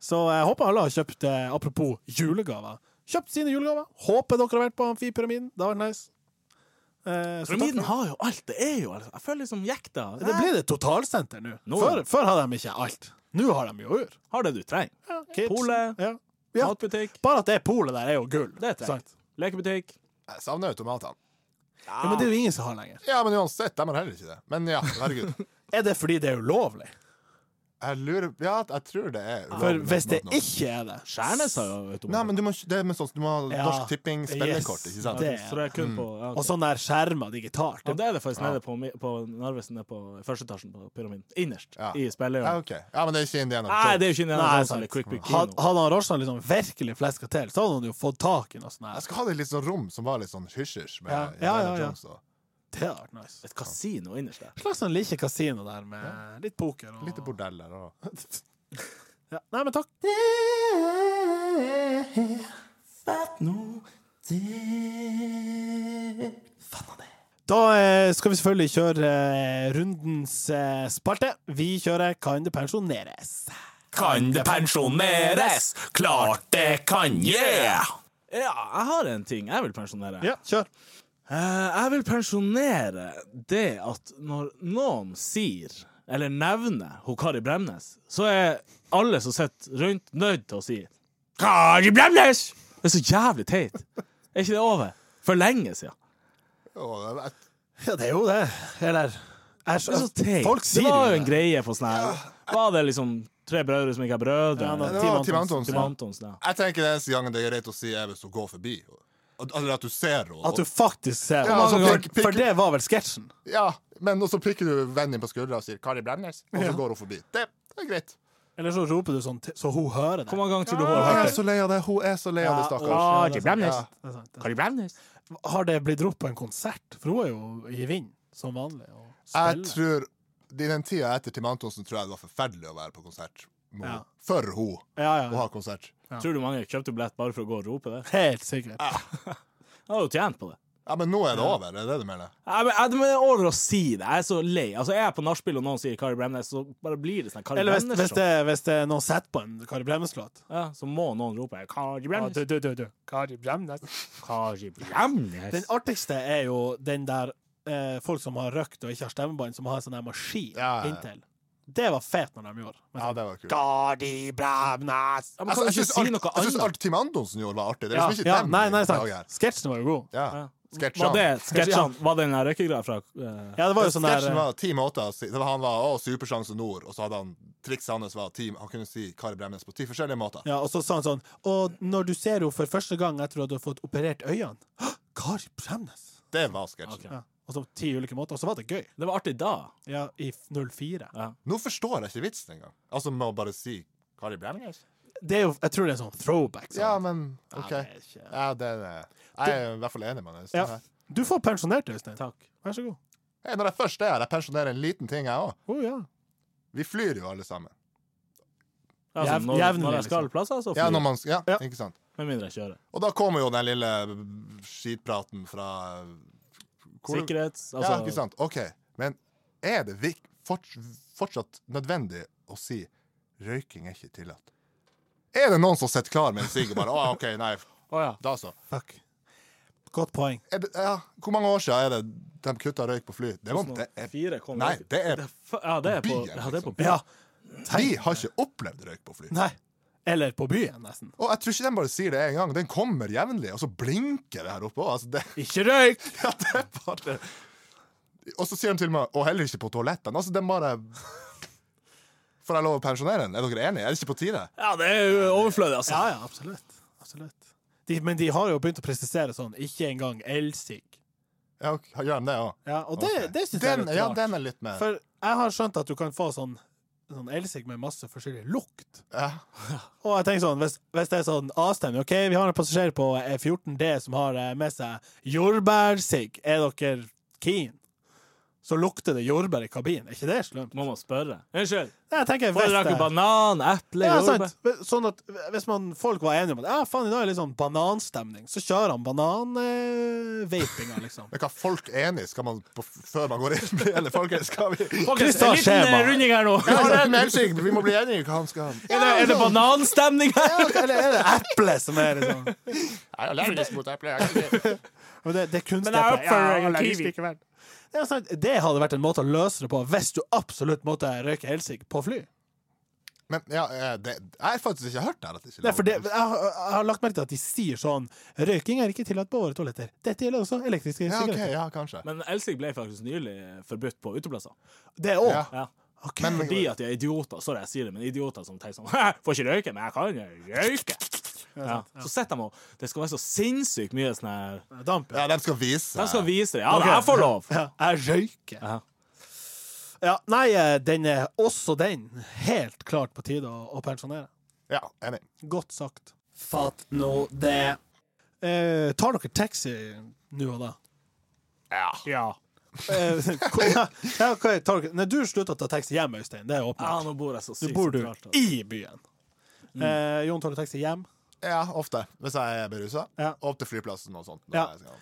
Så jeg håper alle har kjøpt, eh, apropos julegaver, kjøpt sine julegaver. Håper dere har vært på Amfipyramiden. Det har vært nice. Eh, så takk Pyramiden for- har jo alt. Det er jo alt. Jeg føler liksom jekta. Det blir et totalsenter nå. Nå, Før, ja. før hadde de ikke alt. Nå har de jo ur. Har det du trenger. Ja, kids. Polet. Ja. Ja. Matbutikk. Bare at det polet der er jo gull. Det trenger. sant? Lekebutikk. Jeg savner automatene. Ja, men det er jo ingen som har lenger. Ja, men uansett, de har heller ikke det. Men ja, herregud. Er det fordi det er ulovlig? Jeg lurer Ja, jeg tror det er For ulovlig hvis det automat nå. ikke er det Skjærnes har jo automat. Nei, men du må, det er med sånn, du må ha Ja. Norsk Tipping Yes. spillekort, ikke sant? Det- Så det er kun på ja, ok. Og sånn der skjermer digitalt Ja, det, det er det faktisk nede på, mi- på Narvesen, nede på første etasjen på pyramiden. Innerst Ja. i Ja, spillejordet. ok. ja, men det er ikke Indiana Nei, Jones. det er jo ikke Indiana Nei, Jones sant. eller Quick Pick Had- Kino. Hadde han Rorsan liksom virkelig fleska til, så hadde han jo fått tak i noe sånt. Jeg her. skal ha det i litt sånn rom som var litt sånn hysj-hysj med Ja. Indiana Ja, ja, ja. Jones. Og Det hadde vært nice. Et kasino innerst der. Et slags sånn lite kasino der med litt poker og litt bordell der og Ja. Nei, men takk. Da eh, skal vi selvfølgelig kjøre eh, rundens eh, spalte. Vi kjører Kan det pensjoneres? Kan det pensjoneres? Klart det kan, yeah! Ja, jeg har en ting jeg vil pensjonere. Ja, kjør. Eh, jeg vil pensjonere det at når noen sier, eller nevner, hun Kari Bremnes, så er alle som sitter rundt, nødt til å si Kari Bremnes! Det er så jævlig teit. Er ikke det over? For lenge siden. Å, jeg- Ja, det er jo det. Eller jeg Det er skjø- så teit. Folk sier det var jo jo en det. greie på sånn her Var det liksom tre brødre som ikke er brødre? Ja, eller? da- Det var Tim Antonsen. Tim Antonsen, ja. Jeg tenker den eneste gangen det er greit å si, er hvis hun går forbi. Og- Eller at du ser henne. At du faktisk ser Ja, det. altså, For- pikk- pikk- For det var vel sketsjen? Ja, Men og så prikker du vennen din på skuldra og sier 'Kari Bremnes', og så går hun forbi. Det, det er greit. Eller så roper du sånn til- så hun hører Hvor det. mange ganger tror du hun Jeg har er hørt det? så lei av det. Hun er så lei av det, stakkars. Ja, det Jim er sant, Ramnes. det er sant, det er sant. Kari Bremnes? Har det blitt ropt på en konsert? For hun er jo i vind, som vanlig. Og Jeg spiller. tror I den tida etter Tim Antonsen tror jeg det var forferdelig å være på konsert. med Ja. henne. For hun Ja, å ja. ha konsert. Tror du mange kjøpte billett bare for å gå og rope det? Helt sikkert. Jeg har jo tjent på det. Ja, Men nå er det over, er det du mener? Jeg, men- jeg, men jeg orker å si det. Jeg er så lei. Altså, er jeg på nachspiel og noen sier Kari Bremnes, så bare blir det sånn Kari Eller hvis, hvis, Bremnes-show. det, hvis det er noen setter på en Kari Bremnes-låt. Ja, så må noen rope Kari Ja, Bremnes. du, du, du, du. Kari Bremnes. Kari Den Bremnes. artigste er jo den der eh, folk som har røkt og ikke har stemmebånd, som har en sånn der maskin Ja, ja, ja. inntil. Det var fet når de gjorde. Men Ja, sånn, det var kult. Kari Bremnes! Ja, men kan Altså, du jeg ikke syns si alt, noe jeg synes annet? alt Tim Antonsen gjorde, var artig. Det er Ja, liksom ikke ja, dem nei, i nei, dag her. sant. Sketsjen var jo god. Ja. Ja. Sketsjene. Var det sketsjene? Var det den der røykegreia fra eh, Ja, det var jo sånn der Sketsjen eh, var ti måter å si det var, Han var å, Supersjanse Nord, og så hadde han trikset hans var ti Han kunne si Kari Bremnes på ti forskjellige måter. ja, Og så sa han sånn Og når du ser henne for første gang etter at du har fått operert øynene «Hå! Kari Bremnes! Det var sketsjen. Ok. Ja. Og så ti ulike måter. Og så var det gøy. Det var artig da. Ja, i 04. Nå forstår jeg ikke vitsen engang. Altså med å bare si Kari Bremnes. liksom. Det er jo, jeg tror det er sånn throwback. Sånn. Ja, men OK. Ja, det er ikke- Ja, det er det. Jeg er i Sånn hvert fall enig med deg. Ja. Du får pensjonert deg, Øystein. Takk. Vær så god. Hey, når jeg først er her, jeg pensjonerer en liten ting, jeg òg. Å ja. Vi flyr jo alle sammen. Altså, Jevn- når, jevnlig, liksom. når jeg skal plasser, så Ja, flyr når jeg. man, ja, Ja. ikke sant? Med mindre jeg kjører. Og da kommer jo den lille skitpraten fra Hvor- Sikkerhets... altså, ja, ikke sant. OK. Men er det vik- forts- fortsatt nødvendig å si røyking er ikke tillatt? Er det noen som sitter klar med en sigg og bare Å, OK, nei, Å, ja. da så. Fuck. Godt poeng. Er det, ja, hvor mange år siden er det de kutta røyk på fly? Det, må, det er, Sånn Fire kom nei, røyken. det er Det er f- Ja, det er på, byen, liksom. ja, det er på Ja. Vi har ikke opplevd røyk på fly. Nei. Eller på byen, nesten. Og jeg tror ikke de bare sier det én gang. Den kommer jevnlig, og så blinker det her oppe òg. Altså, det, Ikke røyk! ja, det er bare Og så sier de til meg Og heller ikke på toalettene. Altså, den bare Får jeg lov å pensjonere den? Er dere enige? Er det ikke på tide? Ja, det er jo overflødig, altså. Ja, ja, absolutt. Absolutt. De, men de har jo begynt å presisere sånn. Ikke engang elsig. Ja, ok, gjør de det òg? Ja, og det, det syns jeg er Den, litt ja, rart. den er litt mer For jeg har skjønt at du kan få sånn, sånn elsig med masse forskjellig lukt. ja. Og jeg tenker sånn, hvis, hvis det er sånn avstemning OK, vi har en passasjer på eh, 14D som har eh, med seg jordbærsigg. Er dere keen? Så lukter det jordbær i kabinen. Er ikke det slemt? Må man spørre. Unnskyld, Nei, Jeg tenker, hvis foretrekker det- du banan, eple, ja, jordbær? sant. Sånn at Hvis man, folk var enige om at ja, faen, i dag er det litt sånn bananstemning, så kjører han banan-vapinga, liksom. Men hva folk er enige skal man på, før man går inn? Eller folkens, skal vi altså, Folkens, Kristian en liten Skjema. eh, runding her nå. Ja, det er en helsing. Vi må bli enige hva han skal Er det, er det bananstemning her? Ja, Eller er det eple som er liksom Jeg er allergisk mot eple. jeg kan ikke- Og det, det er kunstig Men jeg eple. oppfører meg Ja, kiwi. allergisk likevel. Det, er sant. det hadde vært en måte å løse det på hvis du absolutt måtte røyke elsig på fly. Men ja, eh, det, jeg har faktisk ikke hørt det her. At det ikke er Nei, for det, lov. jeg, har- jeg har lagt merke til at de sier sånn Røyking er ikke tillatt på våre toaletter. Dette gjelder også elektriske ja, ok, sigaretter. ja, kanskje. Men elsig ble faktisk nylig forbudt på uteplasser. Det òg. Ja. Ja. Ok. Fordi at de er idioter. Sorry, jeg sier det, men idioter som tenker sånn «Hæ, Får ikke røyke, men jeg kan jo røyke. Ja. Så sitter de og Det skal være så sinnssykt mye sånn her Damp. Ja. Ja, de skal vise. De skal vise det. Ja, jeg får lov! Jeg røyker. Ja. Ja, nei, eh, den er også den helt klart på tide å, å pensjonere. Ja, enig. Godt sagt. Fatt nå det. Eh, tar dere taxi nå og da? Ja. Eh, hvor- ja, ja, ok, tar dere. Nei, du slutta å ta taxi hjem, Øystein. Det er ja, åpenbart. nå bor jeg så Mm. Du sykt altså. bor du sentralt. i byen. Eh, Jon, tar du taxi hjem? Ja, ofte. Hvis jeg er berusa. Ja. Opp til flyplassen og sånt. når Ja. jeg skal-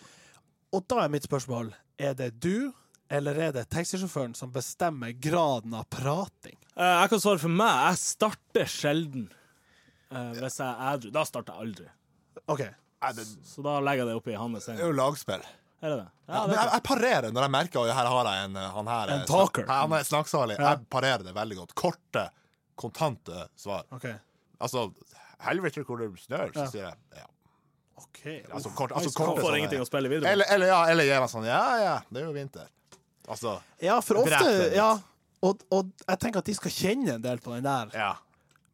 Og da er mitt spørsmål Er det du, eller er det taxisjåføren som bestemmer graden av prating? Eh, jeg kan svare for meg. Jeg starter sjelden. Eh, hvis jeg er edru. Da starter jeg aldri. OK. Nei, det Så da legger jeg det oppi hans seng. er jo lagspill. Er det det? Ja, Ja, det men jeg, jeg parerer når jeg merker at her har jeg en eh, han her En er- talker. Nei, Han er snakksalig. Jeg parerer det veldig godt. Korte, kontante svar. ok Altså Helvete, hvor det snør, så Ja. sier jeg ja. Ok Altså, kort, altså, Han korte får sånne- ingenting å spille videre med. Eller, eller, ja, eller gir meg sånn Ja, ja, det er jo vinter. Altså Ja, for ofte Dreper litt. ja, og, og jeg tenker at de skal kjenne en del på den der. Ja.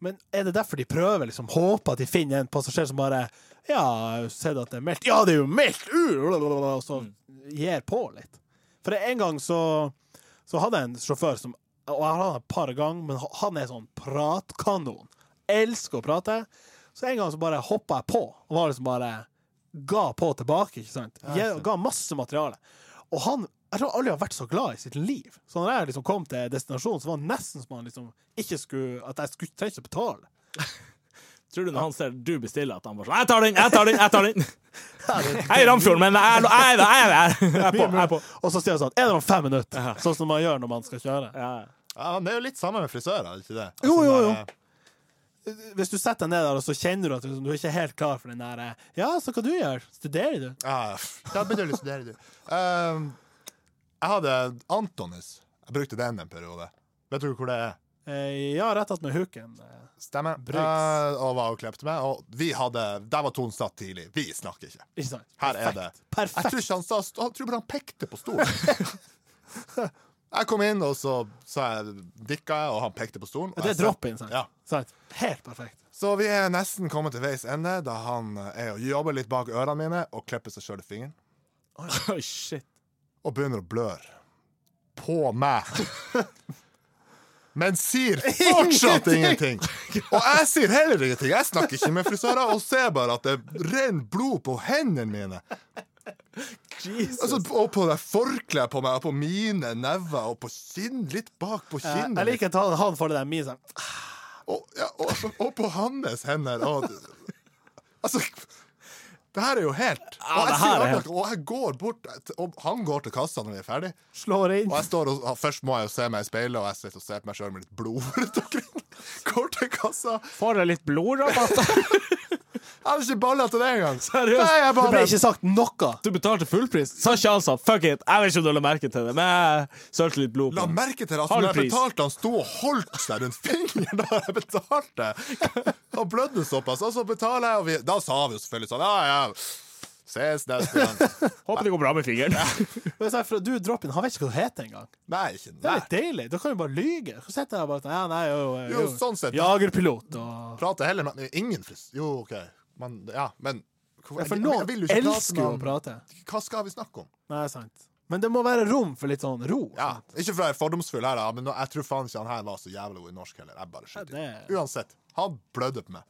Men er det derfor de prøver liksom håper at de finner en passasjer som bare Ja, jeg har sett at det er meldt. Ja, det er jo meldt! Uh, blablabla, Og så gir på litt. For en gang så så hadde jeg en sjåfør som Og jeg har hatt han et par ganger, men ha- han er sånn pratkanon. Elsker å prate. Så en gang så bare hoppa jeg på, og var liksom bare ga på tilbake, ikke sant? Jeg ga masse materiale. Og han jeg tror aldri har vært så glad i sitt liv. Så når jeg liksom kom til destinasjonen, så var det nesten som han liksom ikke skulle At jeg skulle trengte å betale. Tror du når han ser du bestiller, at han bare sånn Jeg tar den, jeg tar den, jeg tar den! Jeg er i Ramfjorden, men jeg er jeg er der! Jeg er der. Jeg er på! Jeg er på. Og så sier han sånn Er det om fem minutter? Sånn som man gjør når man skal kjøre. Ja. Ja, men det er jo litt samme med frisører, er det ikke det? Jo, jo, Altså, jo. der, eh, Hvis du setter deg ned der, og så kjenner du at du, du er ikke helt klar for den der eh, Ja, så hva du gjør? Studerer du? Ah, Ja, ja. da begynner du å studere, du. Ehm, jeg hadde Antonis. Jeg brukte den en periode. Vet du hvor det er? Eh, ja, rett attmed hooken. Eh, Stemmer. Bruks. Eh, og var og klepte meg. Og vi hadde Der var tonen satt tidlig. Vi snakker ikke. Ikke sant? Her er det. Jeg Perfekt. tror ikke han sa Han tror bare han pekte på stolen. jeg kom inn, og så sa jeg dikka jeg, og han pekte på stolen. og Det jeg er drop-in, sant? Ja. sant? Helt perfekt. Så vi er nesten kommet til veis ende, da han er og jobber litt bak ørene mine og klipper seg sjøl i fingeren. Oi, shit. Og begynner å bløre. På meg. Men sier fortsatt ingenting. Og jeg sier heller ingenting. Jeg snakker ikke med frisører og ser bare at det renner blod på hendene mine. Jesus. Altså, og på det forkleet på meg, og på mine never, og på kinn, litt bak på Eh, kinnet. jeg liker at han- han får det der min sånn og, ja, og, og på hans hender. Og, altså Det her er jo helt Ja, Og det her jeg, sier er akkurat- helt. og jeg går bort Og han går til kassa når vi er ferdig Slår inn. Og jeg står og først må jeg jo se meg i speilet, og jeg sitter og ser på meg sjøl med litt blod rundt omkring. Går til kassa. Får jeg litt blodrabatt? Jeg hadde ikke baller til det engang. Seriøst? Nei, jeg Det ble bare ikke sagt noe. Du betalte fullpris. Sa ikke altså fuck it, jeg vet ikke om du la merke til det, men jeg sølte litt blod La på den. merke til at Halv når jeg pris. betalte, han sto og holdt seg rundt fingeren da jeg betalte. Han blødde såpass, og så betaler jeg, og vi, da sa vi jo selvfølgelig sånn Ja, ja, ses neste gang. Håper det går bra med fingeren. Men så er det for- Du drop-in, han vet ikke hva du heter engang. Nei, ikke Det er nei. litt deilig. Da kan du bare lyge. Så sitter jeg bare sånn Ja, nei, jo, jo, Jo, sånn sett. Jagerpilot og Prater heller med ingen fris... Jo, OK. Men, ja, men ja, For jeg- jeg noen vil jo ikke prate elsker jo å med prate. han. Hva skal vi snakke om? Nei, sant. Men det må være rom for litt sånn ro. Ja, Ikke for å være fordomsfull, her, da, men nå- jeg tror faen ikke han her var så jævlig god i norsk heller. Jeg bare skyter. Ja, det- inn. Uansett, han blødde på meg.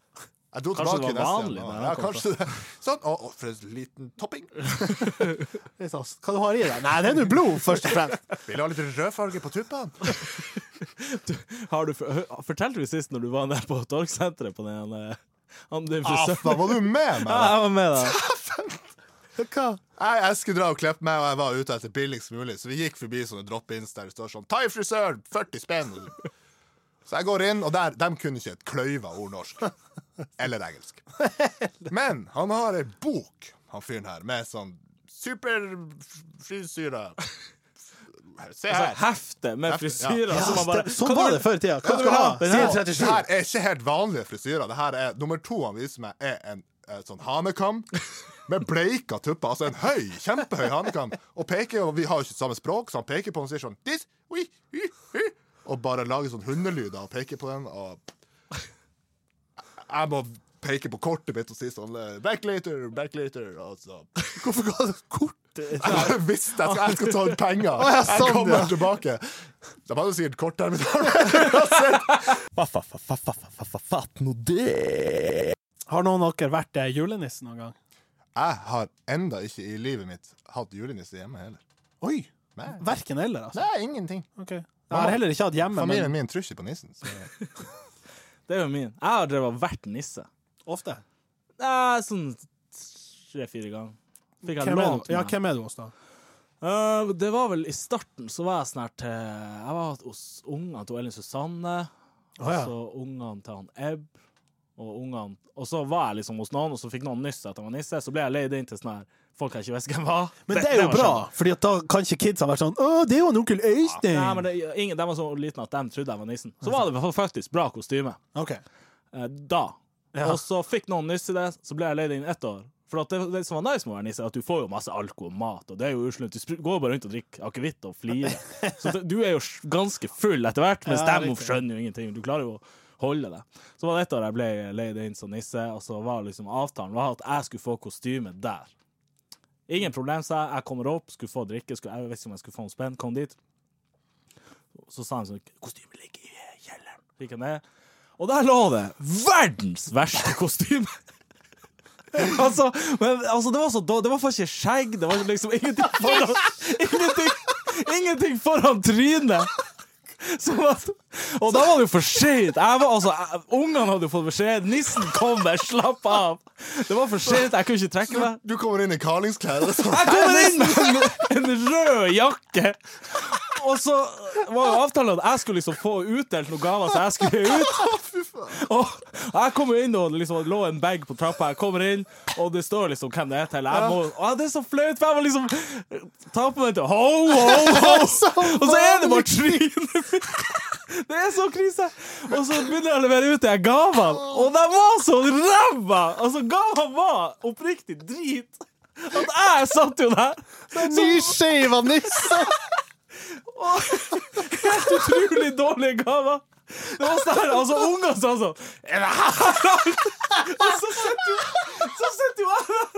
Jeg dro Kanskje tilbake det var neste vanlig der gang, da. han Ja, kom kanskje det. Sånn, og, og for en liten topping. Litt sånn, hva du har i deg? Nei, det er nå blod, først og fremst. Vil du ha litt rødfarge på tuppene? Har du for- Fortalte du sist når du var der på torgsenteret på den eh, han din Ah, frisøren? Da var du med Ja, altså. meg! jeg var med da. Hva? Jeg, jeg skulle dra og klippe meg, og jeg var ute etter billigst mulig, så vi gikk forbi sånne drop-ins der det står sånn 'Ta i frisøren! 40 spenn!' Så jeg går inn, og der, de kunne ikke et kløyva ord norsk. Eller engelsk. Men han har ei bok, han fyren her, med sånn superfrisyre. Altså, Se her. hefte med Hefte, ja. frisyrer. Ja, som man bare, stem- sånn Hva var du- det før i tida. Hva du skal vil ha? Den her- Siden Det 37. her er ikke helt vanlige frisyrer. Det her er, nummer to han viser meg, er en eh, sånn hanekam med bleika tupper. Altså en høy, kjempehøy hanekam. Og peker, og vi har jo ikke samme språk, så han peker på den og sier sånn This, we, we, we. Og bare lager sånn hundelyder og peker på den. Og jeg må peke på kortet mitt og si sånn eh, Back later, back later. Og så Hvorfor ga du kort? jeg bare visste jeg skal, jeg skal ta ut penger. ja, Jeg sånn, kommer ja. tilbake. Da var det sikkert kortterminal. Fatt nå det! Har noen av dere vært eh, julenisse noen gang? Jeg har enda ikke i livet mitt hatt julenisse hjemme heller. Oi. Nei, Verken eller, altså. Nei ingenting. Ok. Jeg har heller ikke hatt hjemme, Familien men min tror ikke på nissen. Så. Det er jo min. Jeg har drevet og vært nisse. ofte. Nei, sånn tre-fire ganger. Fikk jeg Hvem er, lånt du? Ja, meg. hvem er du hos, da? Eh, det var vel i starten så var jeg snart til Jeg var hos ungene til Ellen Susanne, og Å, ja. så ungene til han Ebb. Og ungene Og så var jeg liksom hos noen, og så fikk noen nyss at jeg var nisse. Så ble jeg leid inn til sånn her folk jeg ikke visste hvem var. Men det er jo var sånn. bra, skjønt. Fordi at da kan ikke kidsa være sånn 'Å, det er jo en onkel Øystein'. Nei, men det, ingen, De var så liten at de trodde jeg var nissen. Så var det faktisk bra kostyme OK. eh, da. Ja. Og så fikk noen nyss i det, så ble jeg leid inn ett år. For at det, det som var nice med å være nisse, er at du får jo masse alko og mat, og det er jo uslunt. Du spr- går bare rundt og drikker akevitt og flirer. Så det, du er jo sj- ganske full etter hvert, mens Ja, dem riktig. skjønner jo ingenting. Du klarer jo å holde deg. Så var det ett år jeg ble leid inn som nisse, og så var liksom avtalen var at jeg skulle få kostyme der. Ingen problem, sa jeg. Jeg kommer opp, skulle få drikke, skulle, jeg visste ikke om jeg skulle få en spenn, kom dit. Så sa han sånn Kostymet ligger i kjelleren. Så gikk jeg ned. Og der lå det verdens verste kostyme! altså, men, altså, det var så dårlig. Det var faen ikke skjegg. Det var liksom ingenting foran Ingenting, ingenting foran trynet! Sånn at, og da var det jo for seint. Jeg var- Altså, jeg- Ungene hadde jo fått beskjed. Nissen kommer, slapp av! Det var for seint. Jeg kunne ikke trekke meg. Du kommer inn i karlingsklær. og sånn. Jeg kommer inn med en, en rød jakke! Og så var jo avtalen at jeg skulle liksom få utdelt noen gaver, så jeg skulle ut. Og jeg kom jo inn, og det liksom lå en bag på trappa. Jeg kommer inn, og det står liksom hvem det er til. Jeg må, å, det er så flaut, for jeg må liksom ta på meg til ho, ho, ho! Og så er det bare trynet mitt! Det er så krise! Og så begynner jeg å levere ut de her gavene, og de var så ræva! Altså, gavene var oppriktig drit. At jeg satt jo der! sånn- Nyskeiva nisse! Utrolig dårlige gaver. Det var sånn her, altså Unger sa sånn Er det her alt? Og så sitter jo Så sitter jo jeg der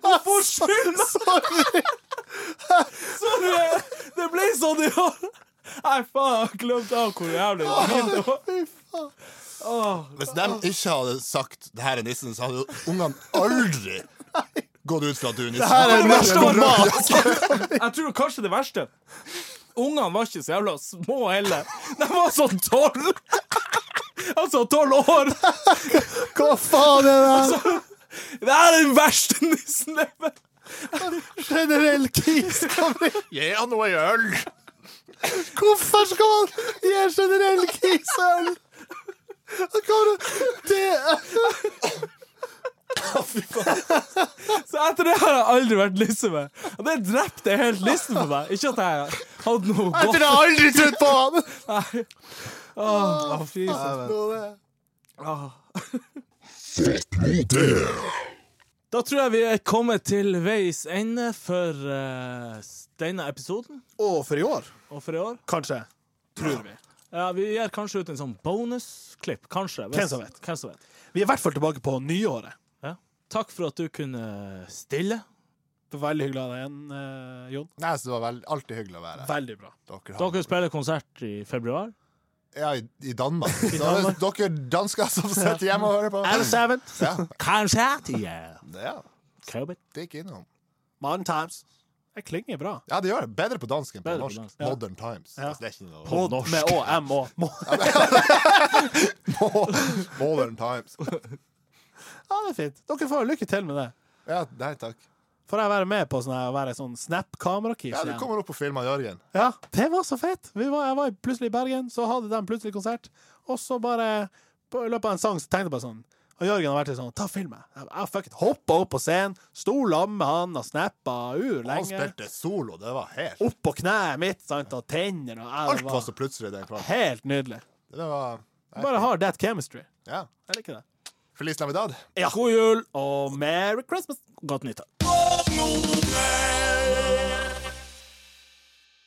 og får skylda! Så det, det ble sånn i år. Nei, faen, jeg har glemt av hvor jævlig fint det var. Hvis de ikke hadde sagt 'det her er nissen', så hadde jo ungene aldri gått ut fra at du er nissen. Det verste var Bra. Jeg tror kanskje det verste Ungene var ikke så jævla små heller. De var sånn tolv! Altså tolv år. Hva faen er det her? Det er den verste nissen ever! Generell krise kommer inn. Gi han noe i øl! Hvorfor skal man gi generell krise øl? Hva er det? Det Så etter det har jeg aldri vært nisse med. Og det drepte helt nissen for meg. Ikke at jeg hadde noe Jeg godt tror jeg aldri trodd på han! Åh, å, fy søren. Da tror jeg vi er kommet til veis ende for eh, denne episoden, Og for i år, og for i år. kanskje. Tror vi. Ja, vi gir kanskje ut en sånn bonusklipp. Kanskje. hvis- Hvem som vet. Hvem som vet. Vi er i hvert fall tilbake på nyåret. Ja. Takk for at du kunne stille. Veldig hyggelig av deg igjen, eh, Jon. Nei, så det var vel- alltid hyggelig å være her. Veldig bra. Dere, har- Dere spiller konsert i februar. Ja, i, i Danmark. Så hvis dere dansker som sitter hjemme og hører på Adam Seven, Ja, Konsert, yeah. ja. Covid. Stikk innom. Modern Times. Det klinger bra. Ja, det gjør det. Bedre på dansk enn på Bedre på norsk. dansk, ja. Modern Times. Ja. Altså, det er ikke noe Pod norsk. med Å, M, Å. Må- Modern Times. Ja, det er fint. Dere får lykke til med det. Ja, nei takk. Får jeg være med på sånn her, å være sånn Snap-kamerakis Ja, du igjen? kommer opp på film av Jørgen. Ja, det var så fett! Vi var, jeg var plutselig i Bergen, så hadde de plutselig konsert. Og så bare, på, i løpet av en sang, så tenkte jeg bare sånn Og Jørgen har vært litt sånn Ta film, jeg. Jeg har fucking hoppa opp på scenen, sto sammen med han og snappa ur Han lenge. spilte solo. Det var helt Opp på kneet mitt, sant, og tennene og jeg, Alt det var så plutselig den kvelden. Helt nydelig. Det var Bare har that chemistry. Ja. Jeg liker det. Feliz Navidad. God jul Og merry Christmas! og godt nyttår. Nå